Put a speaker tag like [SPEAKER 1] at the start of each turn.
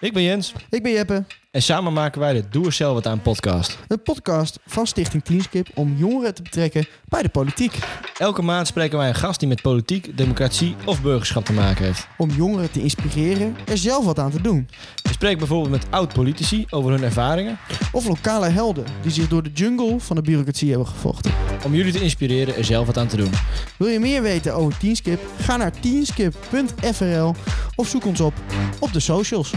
[SPEAKER 1] Ik ben Jens
[SPEAKER 2] Ik ben Jeppe,
[SPEAKER 1] en samen maken wij de Doe er zelf wat aan podcast.
[SPEAKER 2] een podcast van Stichting Cleanskip om jongeren te betrekken bij de politiek.
[SPEAKER 1] Elke maand spreken wij een gast die met politiek, democratie of burgerschap te maken heeft.
[SPEAKER 2] Om jongeren te inspireren er zelf wat aan te doen.
[SPEAKER 1] We spreken bijvoorbeeld met oud-politici over hun ervaringen
[SPEAKER 2] Of lokale helden die zich door de jungle van de bureaucratie hebben gevochten.
[SPEAKER 1] om jullie te inspireren er zelf wat aan te doen.
[SPEAKER 2] Wil je meer weten over Teenskip? Ga naar teenskip.frl of zoek ons op op de socials.